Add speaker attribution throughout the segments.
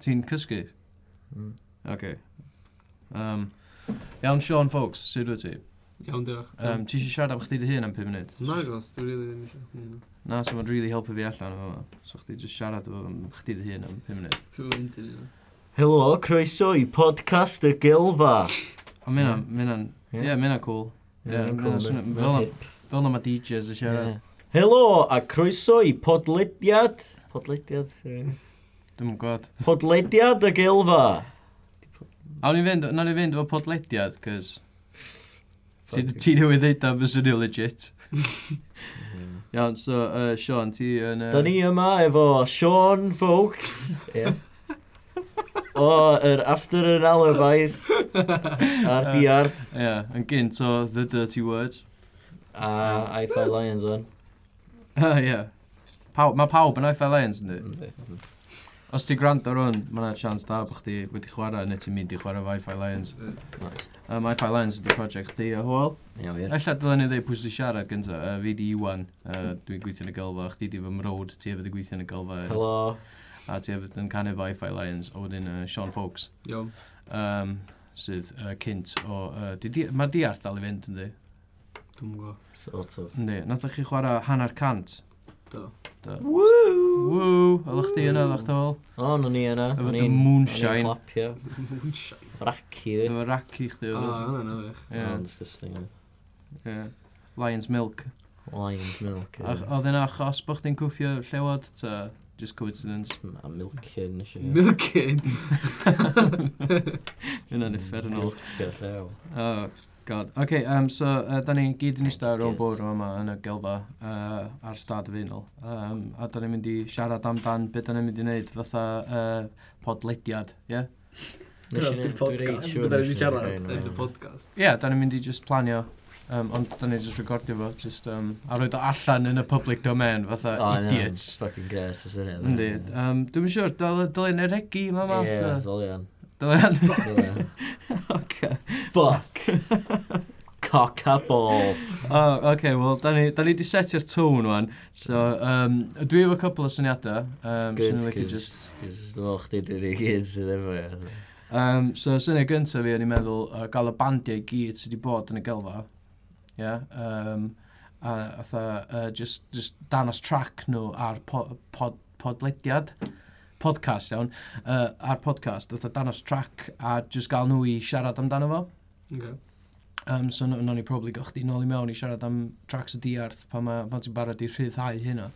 Speaker 1: Ti'n cysgu? OK. Um, iawn, Sean Fox, sut wyt ti?
Speaker 2: Iawn, diolch.
Speaker 1: Um, ti eisiau siarad am chdi dy hun am 5 munud?
Speaker 2: Nagos, dwi'n rili ddim eisiau gwneud nhw.
Speaker 1: Na, so mae'n really helpu fi allan efo fo. So chdi jyst siarad efo am chdi dy hun am 5 munud.
Speaker 2: Dwi'n mynd i'n un.
Speaker 3: Helo, croeso i podcast y Gilfa.
Speaker 1: A mynd am, mynd am,
Speaker 3: Ie.
Speaker 1: ie, mynd am cool. Ie,
Speaker 3: Ie,
Speaker 1: mae'n
Speaker 3: cool,
Speaker 1: swnio-
Speaker 3: mae'n
Speaker 1: fel na-
Speaker 3: hip.
Speaker 1: Fel na mae DJs yn siarad.
Speaker 3: Ie. Helo a croeso i podlediad. Podlediad? ie.
Speaker 1: Dwi'n yn gwybod.
Speaker 3: Podlediad y Gilfa.
Speaker 1: A wnawn ni fynd, wnawn ni fynd efo podlediad, cys... Ti ti newydd ddeud am y swnio legit. Iawn, so, uh, Sean, ti yn... yy,
Speaker 3: Da ni yma efo Sean Folks. Ie. O, yr After an Alibis. Ar di arth.
Speaker 1: Ie, yn gynt o The Dirty Word.
Speaker 3: A I Fly Lions on.
Speaker 1: Ie. Paw, mae Oh, pawb yn IFL Lions, ynddi? Os ti gwrando ar hwn, mae yna chance da bod chdi wedi chwarae neu ti'n mynd i chwarae fo IFL Lions.
Speaker 3: Nice.
Speaker 1: Um, IFL Lions ydy project chdi a hwyl.
Speaker 3: Ie, wir.
Speaker 1: Ella dylen ni ddeud pwy sy'n siarad gyntaf. Uh, fi di Iwan, uh, dwi'n gweithio yn y gylfa. Chdi di fy mrod, ti hefyd yn gweithio yn y gylfa.
Speaker 3: Helo.
Speaker 1: A ti hefyd yn canu fo IFL Lions, o wedyn uh, Sean Fox.
Speaker 2: Iawn.
Speaker 1: Um, sydd uh, cynt o... Uh, Mae'r diarth dal i fynd, ynddi?
Speaker 2: Dwi'n go.
Speaker 3: Sort of.
Speaker 1: Ynddi. Nath chi chwarae hanner cant.
Speaker 2: Do.
Speaker 1: Do.
Speaker 3: Woo!
Speaker 1: Woo! Ydych chdi yna, ydych chi'n
Speaker 3: O, no ni yna.
Speaker 1: Efo
Speaker 3: O'n
Speaker 1: dy
Speaker 3: i'n-
Speaker 1: moonshine.
Speaker 3: O'n i'n clapio.
Speaker 2: Moonshine.
Speaker 3: Raci, fi.
Speaker 1: Efo rac i chdi
Speaker 2: O,
Speaker 1: oedd.
Speaker 2: Ah, hwnna'n awych.
Speaker 1: Ie,
Speaker 3: Yeah. disgusting.
Speaker 1: ie. Lion's Milk.
Speaker 3: Lion's milk.
Speaker 1: Ach- Oedd yna achos bod chdi'n cwffio llewod, ta just coincidence?
Speaker 3: A milkin, nes i.
Speaker 2: Milkin.
Speaker 1: Yna'n effernol.
Speaker 3: Milkio llew.
Speaker 1: Oh, god. Oce, okay, um, so, uh, da ni gyd yn eistedd o'r bwr yma yn y gelfa uh, ar stad y funol. Um, a da ni'n mynd i siarad amdan beth da ni'n mynd i wneud fatha uh, podlediad, ie? Yeah?
Speaker 3: Nes i
Speaker 2: Dwi'n
Speaker 3: neud- dwi'n reit
Speaker 2: podcast.
Speaker 3: siŵr
Speaker 2: Dwi'n
Speaker 3: nes i
Speaker 2: siarad
Speaker 3: neud
Speaker 2: yn y
Speaker 3: hynna.
Speaker 2: podcast.
Speaker 1: Ie, yeah, da ni'n mynd i just planio, um, ond da ni'n just recordio fo, just, um, a roed o allan yn y public domain, fatha
Speaker 3: O, na,
Speaker 1: idiots.
Speaker 3: it's Fucking gres, y syniad.
Speaker 1: Yndi, um, dwi'n siŵr, dylen yr hegi yma ma.
Speaker 3: Ie,
Speaker 1: ta.
Speaker 3: ddolian.
Speaker 1: Dylen...
Speaker 3: Ddolian.
Speaker 1: Oce.
Speaker 3: Fuck. Cock a balls.
Speaker 1: O, oce, wel, da ni wedi setio'r tone wan. So, um, dwi efo cwpl o syniadau. Um,
Speaker 3: Good,
Speaker 1: sy'n licio
Speaker 3: cys-
Speaker 1: just...
Speaker 3: cys dwi'n meddwl chdi dwi'n ei gyd sydd efo. ie.
Speaker 1: Um, so, syniad gyntaf fi, o'n i'n meddwl, uh, gael y bandiau i gyd sydd wedi bod yn y gelfa. Ie. Yeah, um, a atha, uh, just, just danos track nhw ar po, pod, podlediad podcast iawn, uh, ar podcast, oedd danos track a just gael nhw i siarad amdano fo.
Speaker 2: Okay.
Speaker 1: Um, so no, no ni probably gach di nôl i mewn i siarad am tracks y diarth pan, ma, pan ti'n barod i rhyddhau hynna.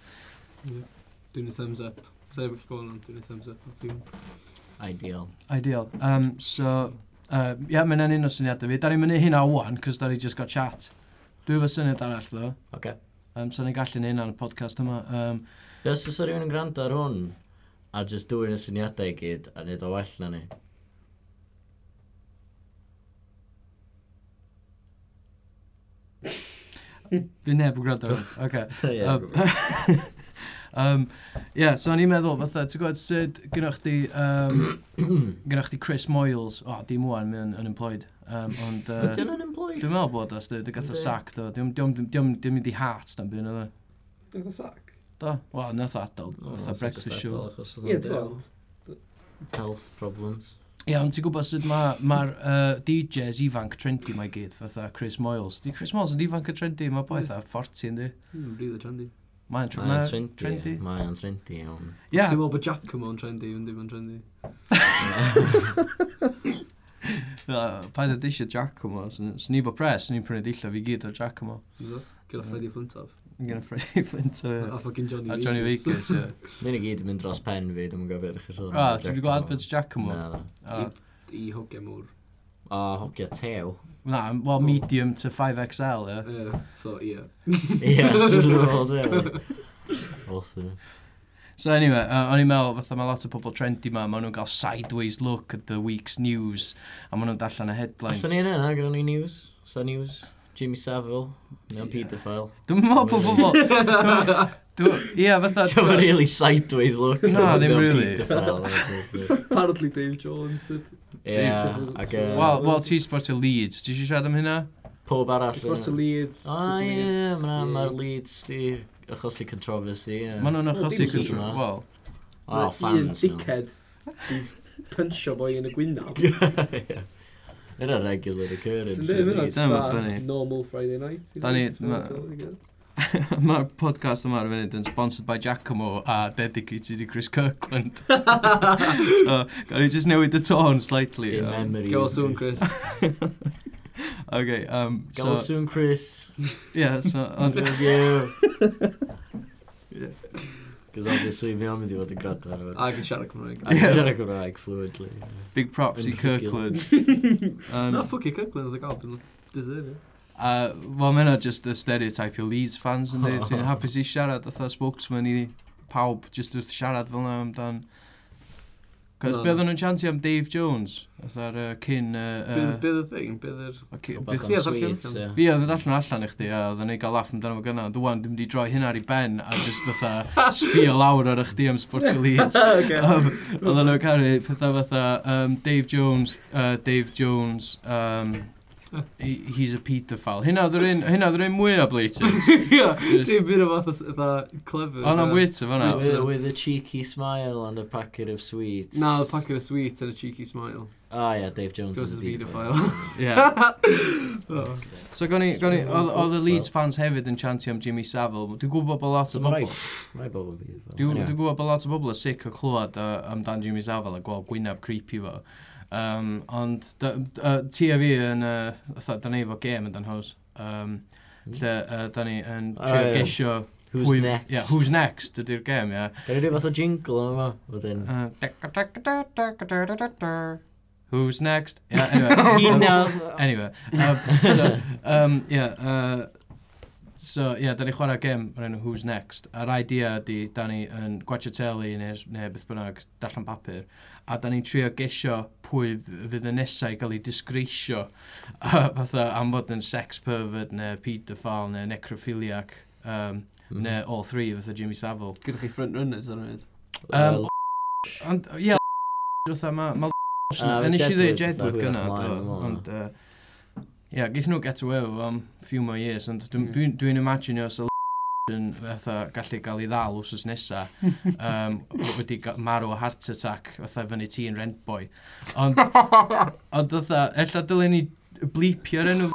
Speaker 2: Dwi'n ei thumbs up. Sa'i bych gofyn ond dwi'n ei thumbs up. Ti'n
Speaker 3: Ideal.
Speaker 1: Ideal. Um, so, uh, ia, yeah, mae'n un o syniadau fi. Da ni'n mynd i hynna wan, cos da ni just got chat. Dwi efo syniad arall, ddo.
Speaker 3: Oce.
Speaker 1: Um, so ni'n gallu neud hynna yn y podcast yma. Um,
Speaker 3: Yes, os oes rhywun yn gwrando ar hwn, a just dwi'n y syniadau i gyd, a neud o well na ni.
Speaker 1: fi neb yn gwrando. Okay.
Speaker 3: Ie,
Speaker 1: um, yeah, so o'n i'n meddwl, fatha, ti'n gwybod sut gynnwch chi, um, gynnwch chi Chris Moyles, o, oh, dim wan, mae'n unemployed. Um, ond, uh,
Speaker 3: Dwi'n unemployed.
Speaker 1: Dwi'n meddwl bod os dy, dy gath o
Speaker 3: Yndi.
Speaker 1: sac do, diwm, diwm, diwm, diwm mynd i heart dan byd yna.
Speaker 2: gael sac?
Speaker 1: Do, wel, nath o adal,
Speaker 3: O,
Speaker 1: nath o
Speaker 3: that's
Speaker 1: breakfast
Speaker 3: just
Speaker 1: show.
Speaker 3: adal, achos oedd
Speaker 2: Ie,
Speaker 3: o'n
Speaker 2: dwi'n gweld.
Speaker 3: Health problems.
Speaker 1: Ie, ond ti'n gwybod sut mae'r ma ma'r, yy, DJs ifanc trendy mae gyd, fatha Chris Moyles. Di Chris Moyles yn ifanc y trendy, mae boi fatha 40 yndi.
Speaker 2: Hmm, really trendy.
Speaker 1: Mae'n
Speaker 3: Mae o'n
Speaker 1: trendy.
Speaker 3: trendy. Mae o'n trendy iawn.
Speaker 1: Ie,
Speaker 2: Ti'n meddwl bod Jack yn o'n trendy, yn dim yn trendy.
Speaker 1: yy, paid o disio Giacomo, sy'n ni fo pres, ni'n prynu dillio fi gyd o Giacomo.
Speaker 2: Fyso? Gyda
Speaker 1: Mm.
Speaker 2: Freddy Flintoff.
Speaker 1: Yn gen i Freddy Flint o...
Speaker 3: Oh,
Speaker 2: A fucking Johnny
Speaker 1: A Johnny Vickers, ie.
Speaker 3: Mi'n i gyd yn mynd dros pen fi, dwi'n gwybod beth chi'n
Speaker 1: O, Ah, ti'n gwybod adverts Giacomo?
Speaker 3: Na, na.
Speaker 1: O,
Speaker 2: I hogia mŵr.
Speaker 3: O, hogia tew.
Speaker 1: Na, well, medium to 5XL, ie.
Speaker 2: Ie, So, ie.
Speaker 3: Ie, dwi'n gwybod tew. Awesome.
Speaker 1: So anyway, uh, o'n i'n meddwl, fatha mae lot o pobl trendy ma, maen nhw'n cael sideways look at the week's news, a maen nhw'n darllen y headlines.
Speaker 3: Oedden ni yna, na, gyda ni news. Sa news. Jimmy Savile. Mae'n pedophile.
Speaker 1: Dwi'n meddwl bod pobl... Dw- Ie, fatha...
Speaker 3: Dwi'n
Speaker 1: t'mo'-
Speaker 3: meddwl really sideways look.
Speaker 1: Na, ddim really.
Speaker 3: Pedophile.
Speaker 2: Apparently Dave Jones.
Speaker 3: Ie,
Speaker 2: Savile.
Speaker 3: ac
Speaker 2: Wel,
Speaker 3: yy,
Speaker 1: Wel, well, ti sport y Leeds, ti eisiau siarad am hynna?
Speaker 3: pob arall.
Speaker 2: Sport o
Speaker 3: yna.
Speaker 2: Leeds.
Speaker 3: O,
Speaker 1: Oh,
Speaker 2: Super
Speaker 3: ie,
Speaker 2: Leeds.
Speaker 3: ma-
Speaker 2: Ie.
Speaker 3: ma'r Leeds di achosi controversy. ie.
Speaker 1: Maen nhw'n
Speaker 2: Wel,
Speaker 1: achosi
Speaker 2: dim
Speaker 1: controversy.
Speaker 3: Leeds.
Speaker 1: Wel,
Speaker 3: O,
Speaker 2: Mae un
Speaker 3: Oh, fans. nhw.
Speaker 2: dickhead Punchio boi yn y gwynaw.
Speaker 3: Yr a regular
Speaker 2: Dwi'n
Speaker 3: occurrence.
Speaker 2: dweud,
Speaker 3: yndi?
Speaker 1: hwnna. Dyna ma'n funny.
Speaker 2: mae'n normal Friday night.
Speaker 1: Da ni- ma- Mae'r podcast yma ar y funud yn sponsored by Giacomo a dedicated i Chris Kirkland. so, gael ni just newid y tone slightly.
Speaker 3: In
Speaker 1: Um,
Speaker 3: memory.
Speaker 2: Gael
Speaker 3: of
Speaker 2: sŵn, Chris.
Speaker 1: okay, um,
Speaker 3: Gael
Speaker 1: so,
Speaker 3: soon, Chris.
Speaker 1: yeah, so, ond,
Speaker 3: Love you. Cos obviously, mi o'n mynd i fod yn gwrando ar hwn.
Speaker 2: Ac yn siarad Cymraeg.
Speaker 3: Ac
Speaker 1: Ie.
Speaker 3: yn siarad Cymraeg fluidly.
Speaker 1: big props i
Speaker 3: Unrhygiol.
Speaker 1: Kirkland. Um,
Speaker 2: Na, ffwc i Kirkland oedd y gael, byn deserve it.
Speaker 1: A, wel, mae yna just y stereotype o Leeds fans yn dweud. Ti'n hapus i siarad oedd spokesman i pawb, just wrth siarad fel yna amdan. Cos
Speaker 2: Na,
Speaker 1: be
Speaker 2: na.
Speaker 1: oedden nhw'n chanti am Dave Jones, oedd ar uh, cyn... Uh,
Speaker 2: Bydd y thing, bydd yr...
Speaker 1: uh, cy-
Speaker 3: Bach
Speaker 1: byth-
Speaker 2: Ie,
Speaker 3: o'n
Speaker 2: o'r
Speaker 3: sweet,
Speaker 2: Kirkland.
Speaker 3: so.
Speaker 1: Fi oedd yn allan allan i chdi, a oedd yn ei gael laff amdano fo gynna. Dwi'n ddim wedi droi hynna ar i ben, a just oedd sbio lawr ar chdi am Sports Leeds. um, oedd nhw'n caru pethau fatha um, Dave Jones, uh, Dave Jones, um, he- he's a paedophile. Hynna oedd yr un- hynna oedd yr un mwy o blatant.
Speaker 2: Ie,
Speaker 1: Just- Oh,
Speaker 2: dim byd o fath oedd clever.
Speaker 1: Ond am wyt o fanna.
Speaker 3: With, with a cheeky smile and a packet of sweets.
Speaker 2: Na, the packet of sweets and a cheeky smile.
Speaker 3: Ah, yeah, Dave Jones
Speaker 2: Goes
Speaker 3: is a
Speaker 2: as a
Speaker 3: paedophile.
Speaker 2: paedophile.
Speaker 1: Yeah.
Speaker 2: Oh.
Speaker 1: So gawn ni, gawn ni, oedd oedd y
Speaker 3: Well.
Speaker 1: Leeds fans hefyd yn chanti am Jimmy Savile. Dwi'n gwybod bod lot
Speaker 3: So
Speaker 1: o
Speaker 3: mae rai-
Speaker 1: bobl...
Speaker 3: mae bobl yn paedophile.
Speaker 1: Dwi'n
Speaker 3: Anyway.
Speaker 1: dwi gwybod bod lot o bobl yn sic o clywed uh, amdan Jimmy Savile a gweld gwyneb creepy fo. Um, ond dy- d- yy, ti a fi yn... Uh, da ni efo game yn dan hws. Um, lle uh, da ni yn
Speaker 3: Hmm? Ah,
Speaker 1: trio
Speaker 3: ie.
Speaker 1: gesio...
Speaker 3: Who's
Speaker 1: pwy-
Speaker 3: next?
Speaker 1: Yeah, who's next ydy'r game, ie.
Speaker 3: Gan i ni fath o jingle yma, wedyn.
Speaker 1: Uh, Who's next? Yeah, anyway.
Speaker 3: He
Speaker 1: Um,
Speaker 3: knows.
Speaker 1: Anyway, um,
Speaker 3: Mm,
Speaker 1: so, um, yeah, uh, so, yeah, da ni chwarae gem o'r enw Who's Next, a'r idea ydi, da ni yn gwachio teli neu, neu beth bynnag, darllen papur, a da ni'n trio gesio pwy f- fydd y nesau i gael ei disgreisio, uh, fatha am fod yn sex pervert, neu paedophile, neu necrophiliac, um,
Speaker 3: Mhm.
Speaker 1: neu all three, fatha Jimmy Savile.
Speaker 2: Gyda chi front runners ar hynny.
Speaker 1: Um, Ond, ie, fatha, ma... ma
Speaker 3: Ah,
Speaker 1: Yn eisiau dweud Jedward
Speaker 3: Jedward, fatha,
Speaker 1: gyna,
Speaker 3: hwyrach
Speaker 1: do,
Speaker 3: mlaen, dwi'n
Speaker 1: ond... yy, Ie, geith nhw get away with am few more years, ond dwi'n
Speaker 2: Mm.
Speaker 1: dwi, dwi imaginio os y yn fatha gallu cael ei ddal wrth nesa um, wedi ga- marw o heart attack fatha fyny ti yn rentboy ond ond fatha ella dylen ni bleepio'r enw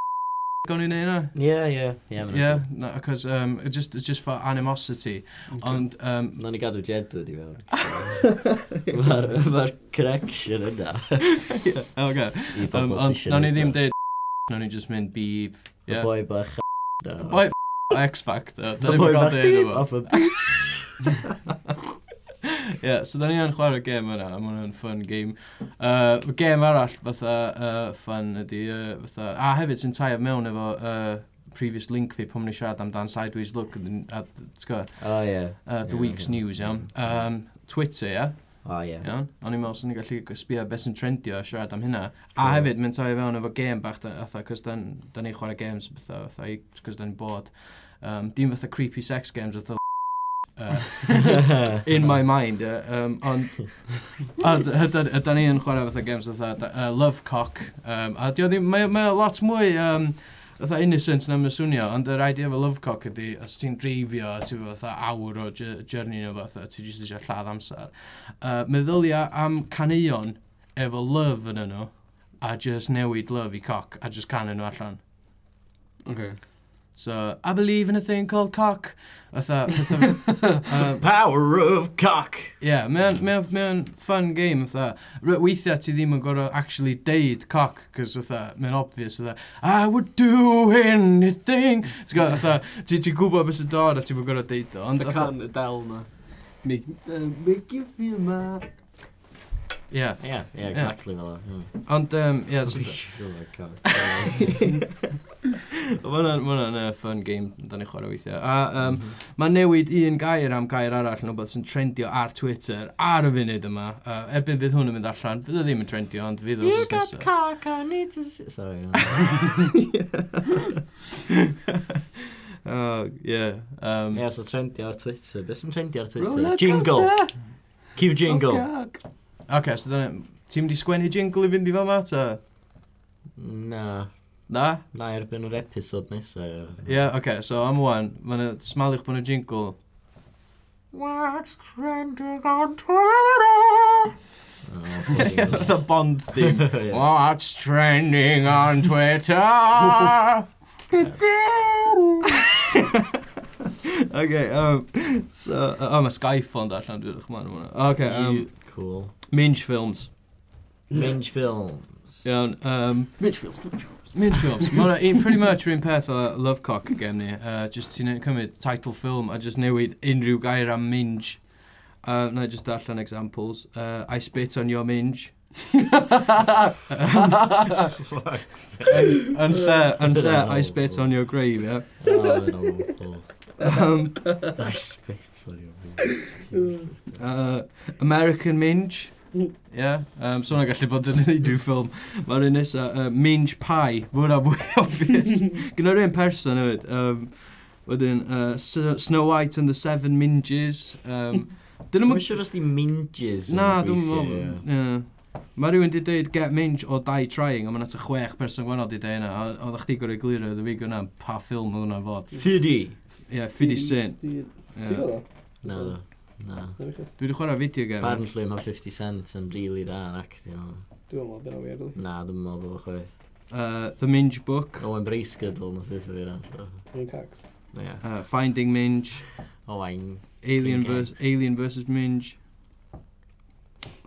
Speaker 1: gawn ni'n neud na
Speaker 3: Ie, ie. Ie,
Speaker 1: ie
Speaker 3: mae'n
Speaker 1: yeah, no, cos um, just, just for animosity ond um,
Speaker 3: Na ni gadw Jedward i fewn. Mae'r ma correction yna
Speaker 1: okay.
Speaker 3: i
Speaker 1: um,
Speaker 3: bobl sy'n
Speaker 1: ond
Speaker 3: siarad.
Speaker 1: nawn ni ddim deud nawn ni just mynd beep
Speaker 3: Y
Speaker 1: ie.
Speaker 3: boi bach na.
Speaker 1: Boi X Factor.
Speaker 3: Y boi bach
Speaker 1: deud
Speaker 3: beep
Speaker 1: efo.
Speaker 3: off y beep.
Speaker 1: Ie, so da ni yn chwarae gêm yna, a ma'n yn fun game. Uh, gêm arall fatha uh, fun ydi, uh, fatha, a hefyd sy'n taio mewn efo uh, previous link fi, pwm ni siarad amdan Sideways Look, and, uh, uh,
Speaker 3: O, ie.
Speaker 1: the
Speaker 3: Ie,
Speaker 1: week's
Speaker 3: ie.
Speaker 1: news, iawn. Um, Twitter, ia,
Speaker 3: O, ie.
Speaker 1: iawn. O'n i'n meddwl sy'n gallu sbio beth sy'n trendio a siarad am hynna. A
Speaker 3: Cool.
Speaker 1: hefyd, mae'n taio fewn efo gêm bach, da- fatha, cos da da ni'n chwarae games, fatha, fatha, i- cos da ni'n bod. Um, dim fatha creepy sex games, fatha, uh, in my mind, uh, um, ond a d- ydan ydan ni yn chwarae fatha games fatha uh, Lovecock, um, a dio ddim, mae, mae o lot mwy um, fatha innocent na mae'n swnio, ond yr idea efo Lovecock ydi, os ti'n dreifio, ti'n fo fatha awr o j- journey neu fatha, ti'n jyst eisiau lladd amser. Uh, meddylia am caneuon efo love yn nhw, a just newid love i cock, a just canu nhw allan.
Speaker 2: Okay.
Speaker 1: So, I believe in a thing called cock. Fatha, fatha, um,
Speaker 3: Power of cock.
Speaker 1: Ie, yeah, mae'n mae o'n- mae o'n fun game, fatha. Re- Weithiau ti ddim yn gorfod actually deud cock, cos fatha, mae'n obvious, fatha, I would do anything. Ti'n gwybod, fatha, ti- ti'n gwybod beth sy'n dod a ti'n gorfod deud o. Ond,
Speaker 2: The
Speaker 1: fatha,
Speaker 2: can Adele ma. Make, uh, make you feel ma.
Speaker 1: ie.
Speaker 3: Ie, ie, exactly fel o. Hmm.
Speaker 1: Ond, yym, ie, so-
Speaker 3: Make you feel like cock.
Speaker 1: ma' hwnna'n ma' hwnna'n, yy, fun game, da ni'n chwarae weithiau. A,
Speaker 3: Um,
Speaker 1: yym, Mae newid un gair am gair arall yn rhywbeth sy'n trendio ar Twitter ar y funud yma. Uh, erbyn fydd hwn yn mynd allan, fydd o ddim yn trendio, ond fydd o'r
Speaker 3: You
Speaker 1: nesaf.
Speaker 3: got cock, I need to... s- Sorry.
Speaker 1: Oh, yeah. Um,
Speaker 3: Ie, so trendy ar Twitter. Beth sy'n trendy ar Twitter?
Speaker 2: Roller
Speaker 3: Jingle.
Speaker 2: coaster
Speaker 3: Cue jingle.
Speaker 2: of cock.
Speaker 1: OK, so dyna... Ti'n mynd i sgwennu jingle i fynd i fel ma, ta?
Speaker 3: Na.
Speaker 1: Na?
Speaker 3: Na erbyn yr episod nesaf.
Speaker 1: Ie, yeah, OK, so am wan, mae'n smalwch bod yn jingle.
Speaker 3: What's trending on Twitter?
Speaker 1: the Bond theme.
Speaker 3: Yeah.
Speaker 1: What's trending on Twitter? okay, um, so, uh, I'm a Skyfond allan dwi'n eich ma'n hwnna. Okay, um,
Speaker 3: Cool.
Speaker 1: Minge Films.
Speaker 3: Minge Films.
Speaker 1: Iawn, um,
Speaker 2: Midfield, Midfield.
Speaker 1: Minge Films. Mae hwnna un- pretty much yr un peth o Lovecock gen ni. Uh, just ti'n cymryd title film a just newid unrhyw gair am Minge. Uh, na i just darllen examples. Uh, I spit on your minge. Yn lle, yn lle, I spit on your grave, yeah.
Speaker 3: Oh, yn awful.
Speaker 1: Um,
Speaker 3: I spit on your minge. Jesus.
Speaker 1: uh, American Minge. Yeah, um, so hwnna'n gallu bod yn unrhyw ffilm. Mae'r un nesa, uh, Minge Pie, mae hwnna fwy obvious. Gyda'r un person hefyd, um, wedyn uh, S- Snow White and the Seven Minges. Um, dyn nhw'm
Speaker 3: Dwi'n
Speaker 1: yn-
Speaker 3: siŵr os di minges yn
Speaker 1: Na, dwi'n
Speaker 3: gweithio,
Speaker 1: meddwl... ie. Mae rhywun wedi dweud get minge o die trying, a mae yna ta chwech person gwahanol wedi dweud yna. Oedd chdi gorau glirio, oedd y fi gwna pa ffilm oedd hwnna'n fod.
Speaker 3: ie. Fidi.
Speaker 1: Ie, 50 Cent.
Speaker 2: Ti'n
Speaker 1: ie.
Speaker 2: gwybod o?
Speaker 3: Na, na, na.
Speaker 2: Dwi'n
Speaker 1: Dwi wedi chwarae video game.
Speaker 3: Apparently mae 50 Cent yn really da yn actio.
Speaker 2: meddwl dyna weird.
Speaker 3: Na, dwi'n meddwl bod o chwaith.
Speaker 1: Uh, the Minge Book.
Speaker 3: Owen Bracegirdle nath eitha fi na, so.
Speaker 2: Dwi'n cags.
Speaker 3: Ie.
Speaker 1: Uh, Finding Minge.
Speaker 3: Owain.
Speaker 1: Alien,
Speaker 3: Okay.
Speaker 1: vers Alien versus Minge.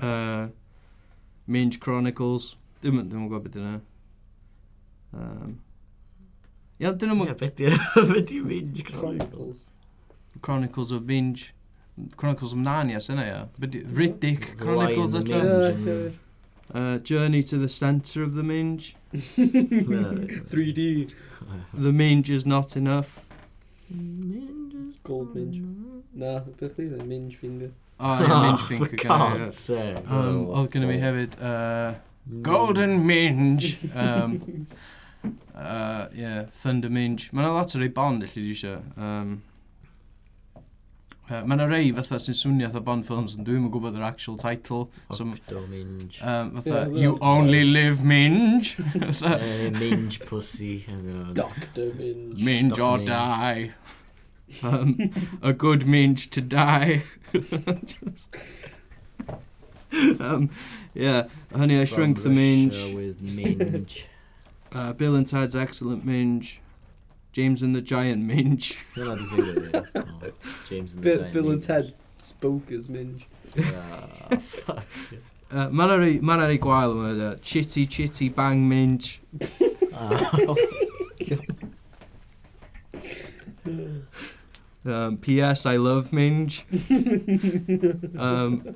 Speaker 1: Uh, Minge Chronicles. Dwi'n dwi'n gwybod beth yna. Um, Ia, dyn nhw'n
Speaker 3: Ie, beth di'r minge chronicles?
Speaker 2: Chronicles.
Speaker 1: Chronicles of Minge. Chronicles of Narnia, sy'n ia. Be' 'di- Riddick
Speaker 3: The Lion,
Speaker 1: Chronicles,
Speaker 3: the
Speaker 1: adra.
Speaker 3: Minge.
Speaker 1: Uh, Journey to the Centre of the Minge.
Speaker 3: Ie.
Speaker 2: 3D.
Speaker 1: The Minge is not enough.
Speaker 3: Minge.
Speaker 2: Gold minge. Na, beth chdi dda? Minge finger.
Speaker 1: Oh, yeah, Minge
Speaker 3: for
Speaker 1: Finger. gan-
Speaker 3: God's
Speaker 1: ie.
Speaker 3: sake. Oh,
Speaker 1: Um, Oedd gynnu fi hefyd... Uh, Golden Minge. Um, uh, yeah, Thunder Minge. Mae yna lot o rei Bond allu di eisiau. Um, uh, mae yna rei fatha sy'n swnio fatha Bond films yn dwi'n gwybod yr actual title. So, um,
Speaker 3: Octo minge.
Speaker 1: fatha,
Speaker 2: Ie,
Speaker 1: You
Speaker 2: wel,
Speaker 1: Only Live Minge. fatha,
Speaker 3: Eh, Minge pussy. I don't know.
Speaker 2: Doctor Minge.
Speaker 1: Minge or
Speaker 3: Doctor Minge.
Speaker 1: die. Um, a good minge to die. Just... um, yeah, honey, I shrunk the
Speaker 3: From
Speaker 1: minge.
Speaker 3: Russia with minge.
Speaker 1: Uh, Bill and Ted's Excellent Minge. James and the Giant Minge.
Speaker 3: Dyna di ffeindio fi. Oh, James and the
Speaker 2: Bi-
Speaker 3: Giant
Speaker 2: Bill and
Speaker 3: Minge.
Speaker 2: Ted spoke as Minge.
Speaker 3: Ah, fuck.
Speaker 1: Uh, mae yna rei- mae yna rei gwael yma. Uh, chitty Chitty Bang Minge.
Speaker 3: Ah,
Speaker 1: Um, P.S. I Love Minge. um,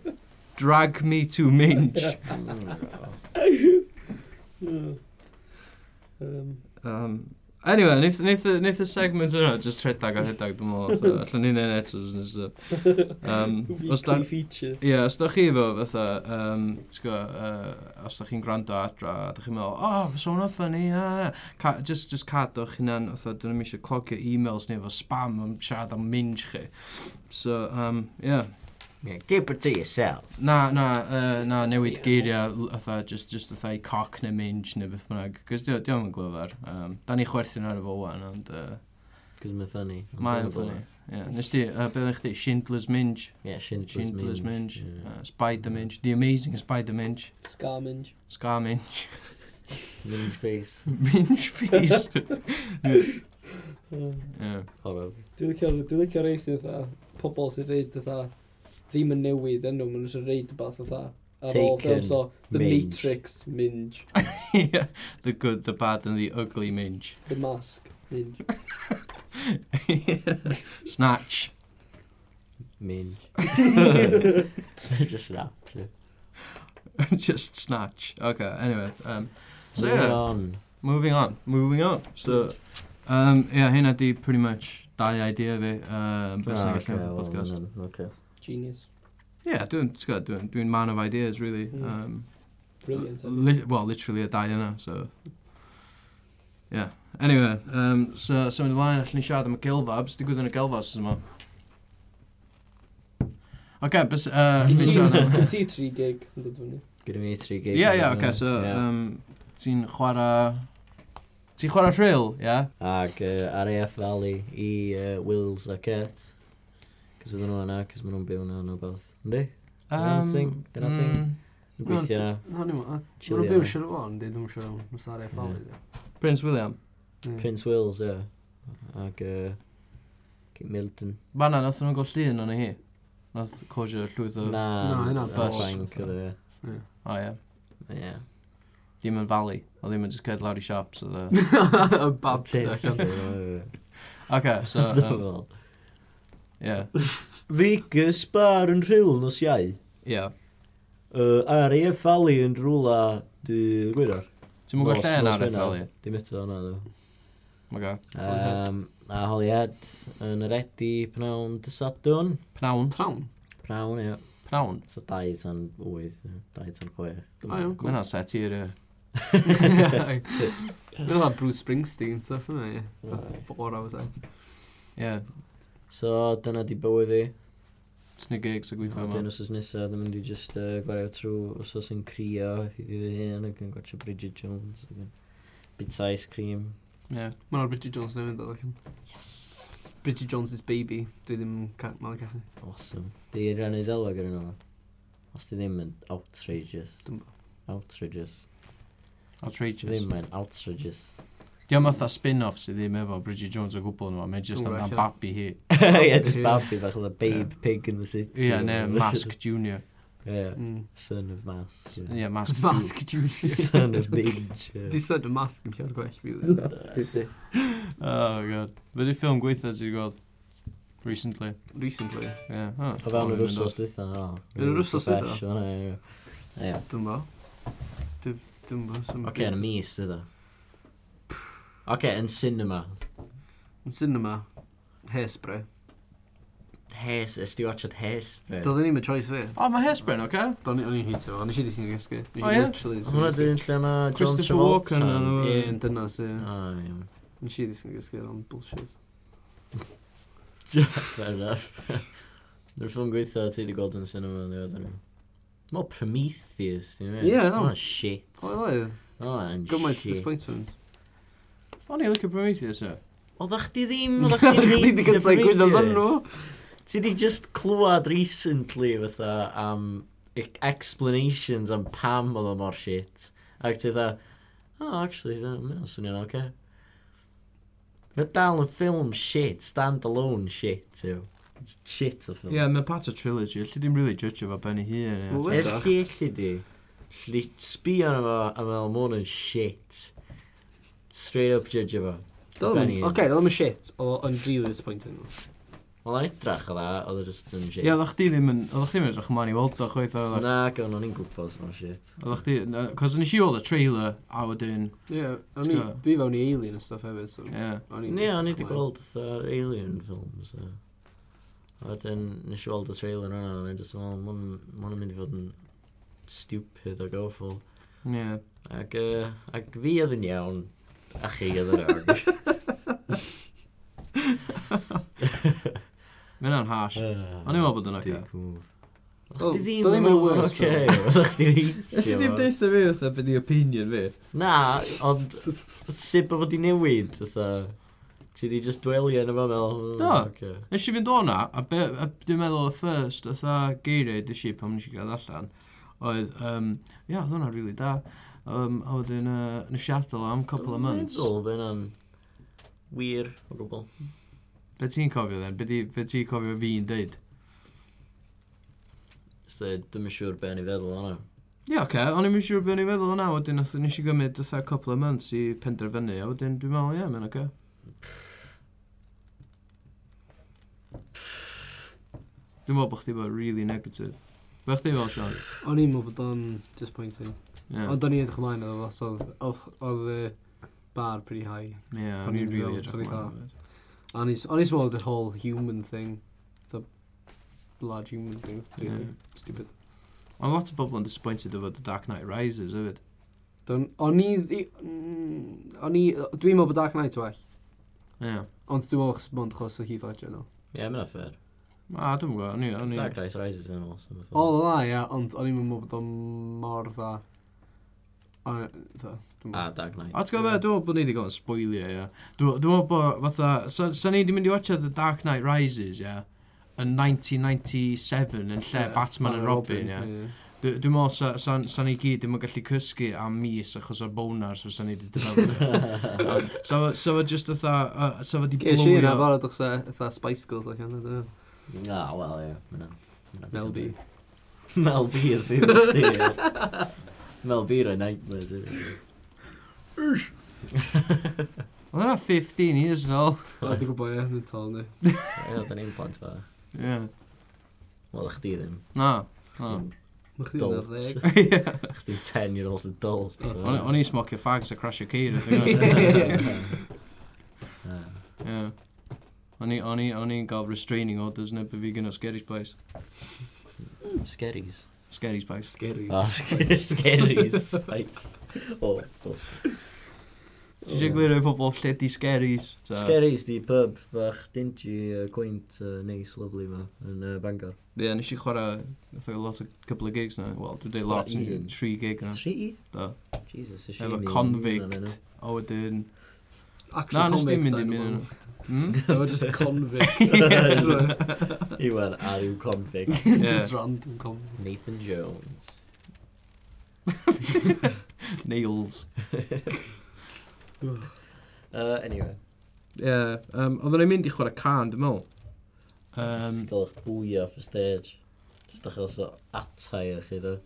Speaker 1: drag Me to Minge.
Speaker 3: mm.
Speaker 2: Um,
Speaker 1: Um, anyway, neith, neith, y- neith y segment yna just rhedeg a rhedeg dwi'n meddwl. so Allan ni'n un eto os nes uh, Um, os da...
Speaker 2: weekly feature.
Speaker 1: Ie, yeah, os da chi efo fatha, um, uh, os da chi'n gwrando adra, a da chi'n meddwl, oh, fysa hwnna ffynnu, a... Ca, just, just cadwch hunan, fatha, dyn nhw'n eisiau clogio e-mails neu efo spam am siarad am minge chi. So, um, yeah.
Speaker 3: Yeah, keep it to yourself.
Speaker 1: Na, na, uh, na, newid geiriau, l- fatha, just, just fatha i coc neu minge neu beth bynnag, cos diolch yn glyfar. Um, da ni chwerthin ar efo wan, ond... Uh,
Speaker 3: Cos mae'n funny.
Speaker 1: Mae'n ffynnu. Ie. Nes ti, uh, beth ydych chi, Schindler's Minge,
Speaker 3: Yeah, Schindler's,
Speaker 1: Schindler's Minge,
Speaker 3: Yeah.
Speaker 1: uh, Spider Minge, The Amazing Spider Minge,
Speaker 2: Scar Minge.
Speaker 1: Scar Minge,
Speaker 3: Minge face.
Speaker 1: Minge Face.
Speaker 2: Uh,
Speaker 1: Ie.
Speaker 3: Horrible.
Speaker 2: Dwi'n licio, dwi'n licio rei sy'n dda, pobol sy'n reid dda, ddim yn newid enw, maen nhw sy'n reid beth dda. Ar ôl
Speaker 3: Taken,
Speaker 2: ffilm, so The
Speaker 3: Minge.
Speaker 2: Matrix, Minge,
Speaker 1: Ie. The Good, The Bad and The Ugly Minge.
Speaker 2: The Mask, Minge.
Speaker 1: Snatch.
Speaker 3: Minge. Just that.
Speaker 1: Just Snatch. Okay, anyway. Um, so,
Speaker 3: Moving
Speaker 1: yeah.
Speaker 3: on.
Speaker 1: Moving on, moving on. So, um, yeah, hynna di pretty much dau idea fi. Um, beth sy'n
Speaker 3: Ah,
Speaker 1: gallu o'r
Speaker 3: well,
Speaker 1: podcast.
Speaker 3: then, okay.
Speaker 2: Genius.
Speaker 1: Ie, yeah, dwi'n, ti'n gwbod, dwi'n dwi man of ideas, really.
Speaker 2: Mm.
Speaker 3: Hmm.
Speaker 1: Um,
Speaker 2: Brilliant. eh?
Speaker 1: Li- well, literally a dau yna, so... Yeah. Anyway, um, so, so mynd ymlaen, allan ni siarad am y gilfabs. Digwydd yn y gilfabs yma. OK, bys... Uh, allan ni siarad am...
Speaker 2: Gyd ti 3 gig yn dod fyny.
Speaker 3: Gyda mi tri gig.
Speaker 1: Ie,
Speaker 3: yn
Speaker 1: ie,
Speaker 3: fan
Speaker 1: OK,
Speaker 3: hyn.
Speaker 1: so...
Speaker 3: Ie.
Speaker 1: Um, ti'n chwarae... Ti'n chwarae rhyl, ie? Yeah?
Speaker 3: Ac uh, ar AF Valley i uh, Wills a Kurt.
Speaker 1: mm,
Speaker 3: Cos oedden nhw yna, cos maen nhw'n byw yna yn o beth. Ynddi? Dyna thing, dyna thing. Yn gweithio na.
Speaker 2: Hwn i'n mwyn.
Speaker 3: Chilio.
Speaker 2: Mae'n byw siarad o yn dweud, dwi'n siarad o'n mynd ar eich fawr.
Speaker 1: Prince William.
Speaker 3: Prince Wills, ie. Ac uh, Milton.
Speaker 1: Fanna, nath nhw'n gael llun o'n hi. Nath cosio llwyth o...
Speaker 3: Na,
Speaker 2: Na, hynna
Speaker 1: bus.
Speaker 3: Bank, oedd e.
Speaker 1: O ie.
Speaker 3: Ie.
Speaker 1: Dim yn falu. O ddim yn just ced lawr i siop. So the...
Speaker 2: Y bab
Speaker 3: Tits,
Speaker 2: section.
Speaker 3: ie.
Speaker 1: OK, so... Um,
Speaker 3: e. Fel.
Speaker 1: yeah.
Speaker 3: Vegas bar yn rhyl nos iau.
Speaker 1: Yeah.
Speaker 3: Uh, ar ei effalu yn rhwla dy gwirar.
Speaker 1: Ti'n mwyn
Speaker 3: Nos-
Speaker 1: gweld llun
Speaker 3: nos
Speaker 1: ar
Speaker 3: Wener.
Speaker 1: effalu?
Speaker 3: Dim eto hwnna, dwi.
Speaker 1: OK.
Speaker 3: Um, a Holyhead yn yr Eddy pnawn dysadwn.
Speaker 1: Pnawn.
Speaker 2: Prawn.
Speaker 3: Pnawn, ie.
Speaker 1: Pnawn.
Speaker 3: So 2 tan 8, 2 tan 6.
Speaker 2: A iawn.
Speaker 1: Mae hynna'n set i'r... yy,
Speaker 2: Mae'n dda Bruce Springsteen stuff yna, ie.
Speaker 3: Aye.
Speaker 2: Four hours out.
Speaker 1: Ie.
Speaker 3: So dyna di bywyd i.
Speaker 1: Snig gigs a gweithio
Speaker 3: Wedyn
Speaker 1: yma.
Speaker 3: os oes nesaf, ddim yn di just uh, gwario trwy os oes yn crio i fy hun ac yn gwachio Bridget Jones. ac yn Bita ice cream.
Speaker 1: Ie.
Speaker 2: Mae'n ar Bridget Jones newydd dod allan.
Speaker 3: Yes!
Speaker 2: Bridget Jones's baby. Dwi ddim yn ca- mael gallu.
Speaker 3: Awesome. Di rannu zelwa gyda nhw. Os di ddim yn outrageous.
Speaker 2: Dwi'm
Speaker 3: Outrageous. Di
Speaker 1: Outrageous.
Speaker 3: ddim yn outrageous.
Speaker 1: Diolch fatha spin-off sydd ddim efo Bridget Jones o gwbl nhw. Mae'n just
Speaker 2: Dwi'm yn
Speaker 1: amdan
Speaker 2: gweld.
Speaker 1: babi hi.
Speaker 3: Ie, just babi bach oedd y babe pig in the city.
Speaker 1: Ie, ne, Mask Junior.
Speaker 3: Ie,
Speaker 2: Mm.
Speaker 3: son of mask. ie.
Speaker 1: Ie, Mask Two.
Speaker 2: Mask Junior.
Speaker 3: Son of mage.
Speaker 2: Di
Speaker 3: ie.
Speaker 2: said y mask yn cael gwell fi.
Speaker 1: Oh, god. Be di ffilm gweithio ti wedi gweld? Recently.
Speaker 2: Recently.
Speaker 1: Ie. O
Speaker 3: O fewn yr wsos dwytha. o.
Speaker 2: Yn yr wsos dwytha?
Speaker 3: Fresh, o, ie, ie. Ie.
Speaker 2: Dwi'n bo. Dwi- Dwi'n bo. Sa'm
Speaker 3: Oce,
Speaker 2: byd.
Speaker 3: yn y mis dwytha. Oce, yn cinema.
Speaker 2: Yn cinema. Hairspray.
Speaker 3: Hes, ys di watchad hes?
Speaker 2: Doedd yn i'n choice fi.
Speaker 1: O, mae Hairspray, oce?
Speaker 2: Do'n i- o'n i'n heitio fo. Nes i ddysgu'n gysgu. Nes i
Speaker 1: O, ie?
Speaker 2: literally ddisgyn
Speaker 3: Hwna
Speaker 2: gysgu.
Speaker 3: dyn lle mae John
Speaker 1: Christopher
Speaker 3: Travolta.
Speaker 1: Walken yn y-
Speaker 2: Ie, yn dynas, ie.
Speaker 3: O, iawn.
Speaker 2: Nes i ddysgu'n gysgu o'n bullshit.
Speaker 3: Fair enough. Dyna'r ffilm gweitha ti wedi gweld yn cinema. ddiweddar i. Mae Prometheus, ti'n meddwl?
Speaker 2: Ie, no.
Speaker 3: Oh, shit. Oh,
Speaker 2: O, oedd.
Speaker 3: and shit.
Speaker 2: Gymaint o disappointment.
Speaker 1: O'n i'n licio Prometheus, e.
Speaker 3: Oedd chdi ddim, oedd chdi ddim
Speaker 2: Chdi di gyntaf gwyddo fan nhw.
Speaker 3: Ti di just clywed recently fatha am e- explanations am pam oedd o mor shit. Ac ti dda, oh, actually, da- mae hwnna'n swnio'n oce. Okay. Mae dal yn ffilm shit, stand-alone shit, yw. It's Shit o ffilm.
Speaker 1: Ie, mae part o trilogy. Lly dim really judge fo ben i hun. ie.
Speaker 2: Wel, we-
Speaker 3: Elli, elli di. Lli sbi arno fo a meddwl, mae hwn yn shit. Straight up judge fo. Benny.
Speaker 2: Oce, okay, oedd yn shit, oedd yn really disappointing.
Speaker 3: Wel, yn edrach o dda, oedd o just yn shit.
Speaker 1: Ie, oeddech chdi ddim yn... Oeddech chdi ddim yn edrych ymlaen i weld o chweith o...
Speaker 3: Na, gawr, o'n i'n gwybod o'n shit.
Speaker 1: Oeddech chdi... na, Cos nes i weld y trailer, a wedyn...
Speaker 2: Ie, yeah,
Speaker 1: Ti'n gwbo?
Speaker 2: dwi fewn i Alien a stuff hefyd, so...
Speaker 1: Ie.
Speaker 2: o'n i'n-
Speaker 3: Ie, o'n i wedi gweld yr Alien films. So. A wedyn, nes i weld y trailer yna, o'n i'n just meddwl, "Ma' hwn- ma' hwn yn mynd i fod yn stupid ac awful.
Speaker 1: Ie.
Speaker 3: Ac, uh, ac fi oedd yn iawn, a chi oedd yn iawn.
Speaker 1: Mae hynna'n hash. O'n i'n meddwl bod yn oce.
Speaker 2: Wel,
Speaker 3: Chdi ddim yn
Speaker 2: doedd ddim yn
Speaker 3: meddwl,
Speaker 2: worst
Speaker 3: oce,
Speaker 2: film.
Speaker 3: oedd chdi
Speaker 1: Ysdi ddim
Speaker 3: reitio.
Speaker 1: deitha fi oedd beth i opinion fi.
Speaker 3: Na, ond sut bod wedi newid, oedd Ti di just dwelio yn yma fel...
Speaker 1: Do.
Speaker 3: Okay.
Speaker 1: Nes i fynd o'na, a, be, a dwi'n meddwl y first, oedd geiriau dy si pan nes i gael e allan, oedd, um, ia, oedd hwnna really da. Um, a wedyn, uh, nes i adael am couple of months.
Speaker 3: Dwi'n meddwl, be'n an... Wir, o gwbl.
Speaker 1: Be ti'n cofio then? Be di- be ti'n cofio fi'n deud?
Speaker 3: So, dwi'n yn siŵr eh, be'n i feddwl hwnna.
Speaker 1: Ie, yeah, oce, okay. o'n i'n mynd siŵr beth o'n i'n feddwl yna, wedyn nath- nes i gymryd oedd couple of months i penderfynu, a wedyn dwi'n meddwl, ie, yeah, mae'n oce. Dwi'n meddwl bod chdi bod really negative. Be chdi fel, Sean?
Speaker 2: O'n i'n meddwl bod o'n disappointing.
Speaker 1: Ie,
Speaker 2: Ond o'n i'n edrych ymlaen iddo fo, so oedd- oedd- oedd y bar pretty high.
Speaker 1: ie,
Speaker 2: o'n
Speaker 1: o'n
Speaker 2: i'n
Speaker 1: i'n
Speaker 2: meddwl,
Speaker 1: really
Speaker 2: sorry,
Speaker 1: edrych mlaen. at it.
Speaker 2: A O'n i'n s- o'n i'n meddwl the whole human thing. The large human thing, it's really
Speaker 1: Ie.
Speaker 2: stupid.
Speaker 1: Ond lot o bobl yn disappointed efo The Dark Knight Rises, hefyd.
Speaker 2: Don- O'n i... ddi- mm, O'n i... Dwi'n meddwl bod Dark Knight well.
Speaker 1: Ie.
Speaker 2: Ond dwi'n meddwl bod o'n chos o Heath Ledger, do.
Speaker 3: Ie, yeah, mae'n affer.
Speaker 1: A, dwi'n gwybod, o'n i, o'n i...
Speaker 3: Dark Knight Rises yn awesome.
Speaker 2: O,
Speaker 4: Oh,
Speaker 2: dda, ia, ond o'n i'n meddwl bod o'n mor dda. O'n i... dda, dwi'n
Speaker 3: A
Speaker 2: meddwl.
Speaker 3: Ah, Dark
Speaker 4: Ah.
Speaker 3: Knight.
Speaker 1: A ti'n gwybod, dwi'n meddwl bod ni wedi gael yn spoilio, ie. Dwi'n dwi'n meddwl bod, fatha, sa, sa ni wedi mynd i watcha The Dark Knight Rises, ie, yn 1997, yn lle
Speaker 2: Ie,
Speaker 1: Batman and Robin, ie.
Speaker 2: ie.
Speaker 1: Dwi- Dwi'n meddwl sa, sa, sa ni gyd ddim yn gallu cysgu am mis achos o'r bonars fysa ni wedi dyfod. sa fo- sa fo just ytha, uh, sa fo di
Speaker 4: Ges i yna
Speaker 1: blowio.
Speaker 4: barod o'ch se, eitha Spice Girls ac yna, dyn nhw.
Speaker 3: Ah, wel, ie. ma' hynna- ma' hynna
Speaker 4: Mel B.
Speaker 3: digon teg. Mel B yn ddim. Mel B roi nightmare. dwi'n meddwl.
Speaker 1: Oedd yna 15 years yn ôl.
Speaker 4: O, dwi'n gwybod, ie, yn tol ni.
Speaker 3: Ie, oedd yn ein plant fa.
Speaker 1: Yeah.
Speaker 3: Wel, chdi ddim.
Speaker 1: Na. na.
Speaker 4: Mae chdi'n ar ddeg.
Speaker 3: Adult.
Speaker 1: Ie.
Speaker 3: Chdi 10-year-old adult.
Speaker 1: O'n i- o'n i smocio fags a crasio ceir. I think. Ie. O'n i, o'n i, o'n i'n gael restraining orders neu bydd fi gynnu Scary's Place.
Speaker 3: Ah, Sgeris.
Speaker 1: Scary's Place.
Speaker 4: Scary.
Speaker 3: O, sgeris. Spikes. O, o.
Speaker 1: Ti eisiau glirio i pobl lle di Scary's? ta?
Speaker 3: Sgeris di pub bach dingy, uh, gwynt, uh, neis, lovely ma, yn uh, Bangor.
Speaker 1: Ie, yeah, nes i chwarae fatha lot o couple of gigs na. Wel, dwi'n dweud lot,
Speaker 3: Chwarae un.
Speaker 1: tri gig na.
Speaker 3: Tri?
Speaker 1: Do.
Speaker 3: Jesus, ysio
Speaker 1: Efo convict. A wedyn...
Speaker 4: Actual
Speaker 1: Na, nes
Speaker 4: convicts
Speaker 1: dim mynd i
Speaker 4: ar y
Speaker 1: mynd
Speaker 4: bobl.
Speaker 1: yn...
Speaker 4: They were just convict.
Speaker 3: Iwan, a rhyw convict.
Speaker 4: Just random convict.
Speaker 3: Nathan Jones.
Speaker 1: Nails.
Speaker 3: Uh, anyway,
Speaker 1: Ie, um, oedden ni'n mynd i chwarae can, dwi'n meddwl.
Speaker 3: um,
Speaker 1: Um,
Speaker 3: gael eich bwy off y stage. Just achos o atai a chi do.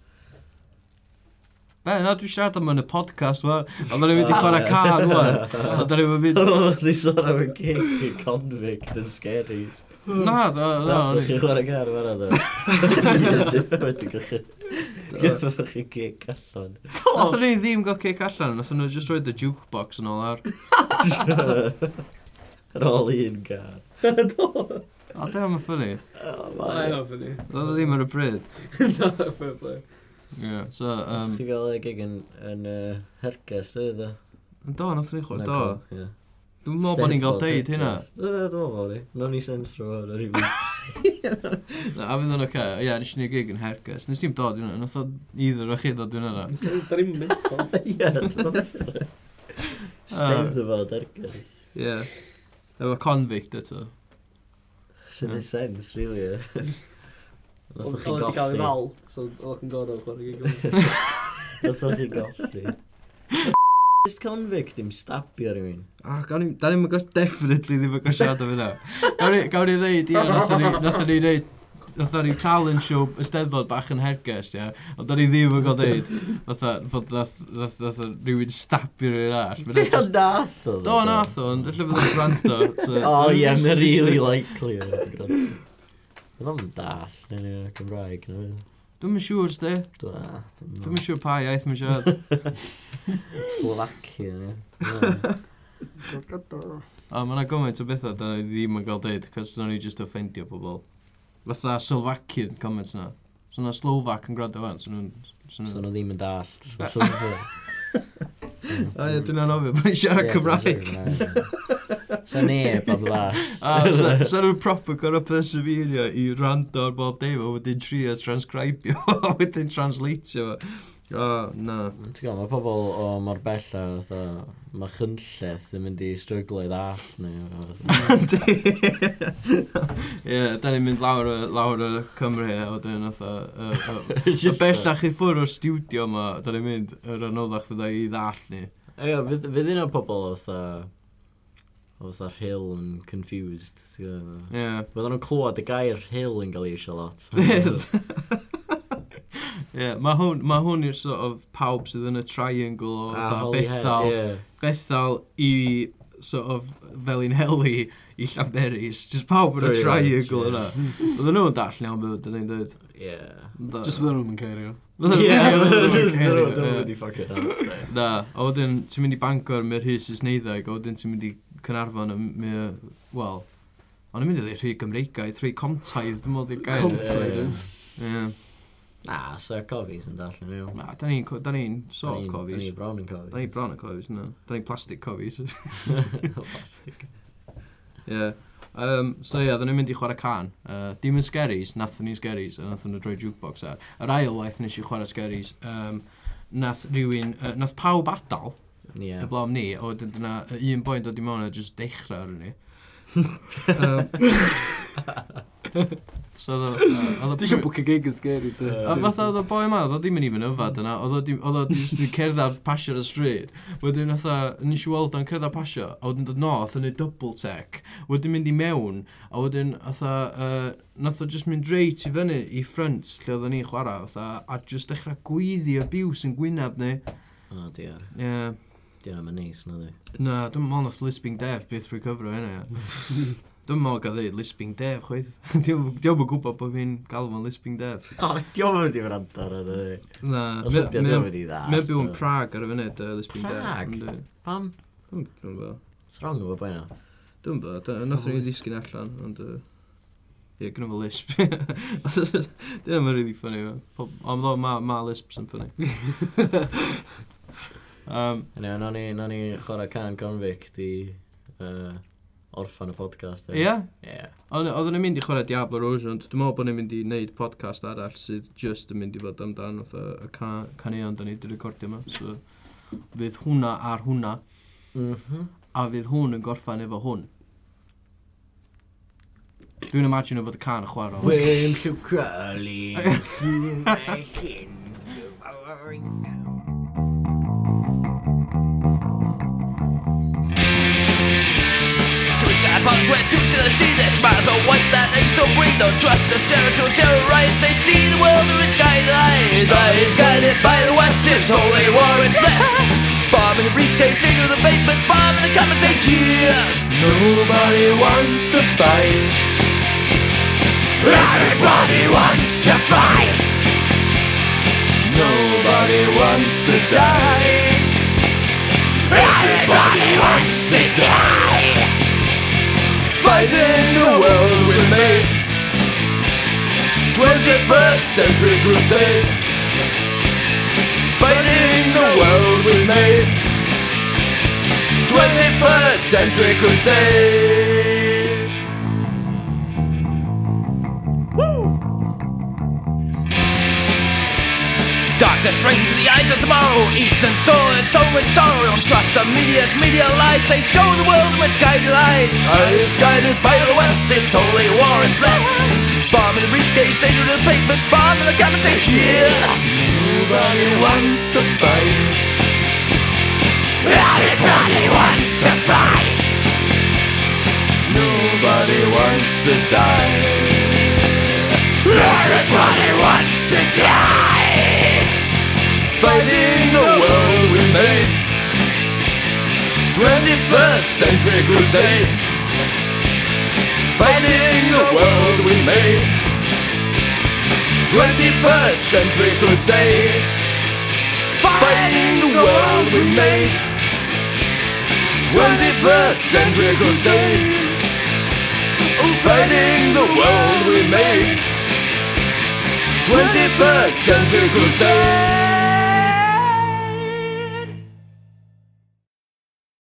Speaker 1: Be, na, dwi'n siarad am yn y podcast, wa. Oedden ni'n mynd i chwarae can, wa. Oedden ni'n mynd...
Speaker 3: Oedd i sôn am y gig y convict yn sgeris.
Speaker 1: Na, da, na,
Speaker 3: Nath
Speaker 1: o'n i.
Speaker 3: chi chwarae gar fanna do. Wedi gychwy. Gyfrwch chi gig allan.
Speaker 1: Nath ni ddim gael cake allan, nath nhw just roed y jukebox yn ôl ar.
Speaker 3: Ar ôl un gar.
Speaker 1: A dyna mae'n ffynnu.
Speaker 3: Oh,
Speaker 2: I
Speaker 3: mae.
Speaker 2: know, funny.
Speaker 1: Oedd o ddim ar y bryd.
Speaker 2: No, fair play.
Speaker 1: Ie, so...
Speaker 3: Nath
Speaker 1: Um,
Speaker 3: chi gael y gig yn, yn uh, herges, dwi ddo.
Speaker 1: do, nath ni chwarae, do.
Speaker 3: Ie.
Speaker 1: Dwi'n meddwl bod ni'n gael
Speaker 3: Steddfod,
Speaker 1: deud hynna.
Speaker 3: Hercules. Yy, Dwi'n meddwl bod ni. No'n ni sens rhywun o'r rhywun.
Speaker 1: Na, A fydd o'n oce. Ie, nes i ni gig yn Hercus. Nes i'n dod i hwnna. Nath o either o chi ddod i hwnna. na.
Speaker 2: Da ni'n mental.
Speaker 3: Ie, dwi'n meddwl.
Speaker 1: Ah.
Speaker 3: Steddfod ergyd.
Speaker 1: Ie. Efo convict eto.
Speaker 3: Sy'n ei sens, really. ie. Nath
Speaker 2: Oedd
Speaker 3: o'ch
Speaker 2: oedd
Speaker 3: chi'n
Speaker 2: wedi cael ei
Speaker 3: goffi.
Speaker 2: ddal, so oedd chi'n gorau chwarae gig.
Speaker 3: Nath o'ch chi'n goffi. Just convict dim stabio rhywun.
Speaker 1: A, gawn ni... Da ni'n gos... Definitely ddim yn gos siarad am hynna. Gawn ni- Gawn ni ddeud, ie, nath o ni... Nath o ni ddeud... Nath o'n ni talent show ysteddfod bach yn hergest, ie. Ond o'n i ddim yn gael deud. Nath o... Fod nath... Nath nath o rhywun stabio rhywun arall. Ma'
Speaker 3: Be
Speaker 1: hynna
Speaker 3: o
Speaker 1: jyst-
Speaker 3: nath o?
Speaker 1: Do, nath o, ond lle fydd o'n gwrando. so-
Speaker 3: O ie, mae'n really likely. oedd o'n gwrando. Oedd o'n dall, neu ni, Gymraeg. neu beth.
Speaker 1: Dwi'm yn siŵr, sti.
Speaker 3: Dwi'n na, dwi'n
Speaker 1: Dwi'm yn siŵr pa iaith mae'n siarad.
Speaker 3: Slovakia, ne?
Speaker 1: A mae yna gymaint o bethau da ni ddim yn gael deud, cos dyn ni just offendio pobl. Fatha Slovakian comments na. So na Slovak yn gwrando fan, so nhw'n... So
Speaker 3: So
Speaker 1: nhw'n...
Speaker 3: nhw ddim yn dallt. So- so-
Speaker 1: A ie, dwi'n anofio, bod ni'n siarad
Speaker 3: Ie,
Speaker 1: Cymraeg.
Speaker 3: dwi'n siarad Cymraeg. So neb am dda.
Speaker 1: A so so nhw'n proper gorau perseverio i rando ar bob dim, a wedyn trio transcribio, a wedyn translatio fo. O, na.
Speaker 3: Ti'n gwybod, mae pobl o mor bella, fatha, mae chynlleth yn mynd i stryglo i ddall neu... fatha.
Speaker 1: Ie, da ni'n mynd lawr, y- lawr y Cymru, a wedyn oedd y
Speaker 3: Just
Speaker 1: bellach i ffwrdd o'r studio yma, da ni'n mynd yr anoddach fydda i ddall ni.
Speaker 3: that. Ie, fydd fydd un o pobl fatha... o Fatha rhyl yn confused, ti'n gwybod.
Speaker 1: Ie.
Speaker 3: Byddwn nhw'n clywed y gair rhyl yn cael ei eisiau lot.
Speaker 1: Rhyl? Ie, mae hwn, ma hwn i'r sort of pawb sydd yn y triangle o
Speaker 3: A
Speaker 1: fatha
Speaker 3: Holyhead,
Speaker 1: Bethal,
Speaker 3: ie.
Speaker 1: Bethal i sort of felin heli i Llanberis. Just pawb yn y
Speaker 3: Pretty
Speaker 1: triangle
Speaker 3: much,
Speaker 1: yna. Oedden nhw'n dall iawn beth ydyn ni'n dweud.
Speaker 3: Ie.
Speaker 4: Just fydden nhw'n ceirio.
Speaker 1: Oedden
Speaker 3: Ie,
Speaker 1: nhw'n cario,
Speaker 3: just nhw-
Speaker 1: ie.
Speaker 3: nhw wedi ffocio hynna.
Speaker 1: Na, a wedyn ti'n mynd i Bangor mi'r hys is neiddeg, a wedyn ti'n mynd i Cynarfon a mi, wel, o'n i'n mynd i ddweud rhi Gymreigaidd, rhi Comtaidd, dwi'n modd i'r gair.
Speaker 4: Comt- Comtaidd, ie.
Speaker 1: Ie.
Speaker 3: Na, so cofis yn dall yn nhw.
Speaker 1: Na, da ni'n co- da ni'n sort of
Speaker 3: Da ni- Da
Speaker 1: cofis.
Speaker 3: ni bron yn cofis.
Speaker 1: Da ni bron yn cofis, na. Da ni plastic cofis. Ie.
Speaker 3: Plastic.
Speaker 1: yeah. Um, so ie, yeah, ni'n mynd i chwarae can. Uh, dim yn sgeris, nath ni'n sgeris, a nath nhw droi jukebox ar. Yr ail waith nes i chwarae sgeris, um, nath rhywun, uh, nath pawb adal,
Speaker 3: Ie.
Speaker 1: yeah. y blom ni, o dyn dyna yy, un boen dod i mewn a just dechrau ar ni. um, So oedd o- oedd
Speaker 4: Dwi eisiau book a gig yn scary, so...
Speaker 1: A fatha oedd y boi yma, oedd o ddim yn even yfad yna, oedd o dim- oedd o jyst yn cerdded pasio ar y stryd. Wedyn fatha, nes i weld o'n cerdded pasio, a wedyn dod north yn ei double tech, wedyn mynd i mewn, a wedyn fatha, uh, nath o jyst mynd reit i fyny i ffrant lle oedden ni'n chwarae, fatha, a jyst dechrau gweiddi abuse yn gwynab ni.
Speaker 3: O, diar.
Speaker 1: Ie, yeah.
Speaker 3: Diar am yn neis, na dwi.
Speaker 1: na, dwi'n meddwl nath Lisping Dev byth recoverio hynna. ie. Dwi'n meddwl gael ddeud Lisping Dev, chweith. Diolch yn gwybod bod fi'n galw fo'n Lisping Dev.
Speaker 3: O, diolch yn di wrando ar ydy.
Speaker 1: Na,
Speaker 3: Os ydy, diolch yn di dda.
Speaker 1: Mae'n byw yn Prag ar y funud, uh, Lisbon Dev.
Speaker 3: Prague?
Speaker 1: yndi.
Speaker 3: Pam?
Speaker 1: Dwi'n dwi'n bod.
Speaker 3: What's wrong efo boi na?
Speaker 1: Dwi'n bod. Nath o'n i
Speaker 4: Oes.
Speaker 1: ddisgyn allan, ond... yy, Ie, gyda fo lisp. Dyna mae'n really funny. ma. Pob- Ond ddo, ma, ma lisps yn funny. um,
Speaker 3: Yna, no ni, no ni chwarae can convict i uh, orffan y podcast.
Speaker 1: Ie?
Speaker 3: Ie.
Speaker 1: Ond- Oedden ni'n mynd i chwarae Diablo Rose, ond dwi'n meddwl bod ni'n mynd i wneud podcast arall sydd just yn mynd i fod amdan fatha y ca- caneuon da ni wedi recordio yma. So, fydd hwnna ar hwnna,
Speaker 3: Mhm.
Speaker 1: a fydd hwn yn gorffan efo hwn. Dwi'n imagine fod y can yn chwarae. ond-
Speaker 3: Wyn llw crawli, llw mellin, llw fawr
Speaker 5: Suicide bombs went through to the sea Their smiles are white, that ain't so breathe Don't trust the terrorists who terrorize They see the world through its guided eyes Eyes guided by the West It's holy war, it's blessed Bomb in the briefcase, sing to the basements Bomb in the comments, say cheers Nobody wants to fight Everybody wants to fight Nobody wants to die Everybody wants to die Fighting the world we made 21st century crusade Fighting the world we made 21st century crusade Darkness reigns in the eyes of tomorrow. Eastern soul is so with sorrow. Don't trust the media's media lies. They show the world with guided eyes. Eyes guided by the West. This holy war is blessed. Bomb in the briefcase, they do the papers. Bomb in the comments, say cheers. Nobody wants to fight. Everybody wants to fight. Nobody wants to die. Everybody wants to die. Fighting the world we made. 21st century crusade. Fighting the world we made. 21st century crusade. Fighting the world we made. 21st century crusade. Fighting the world we made. 21st century crusade.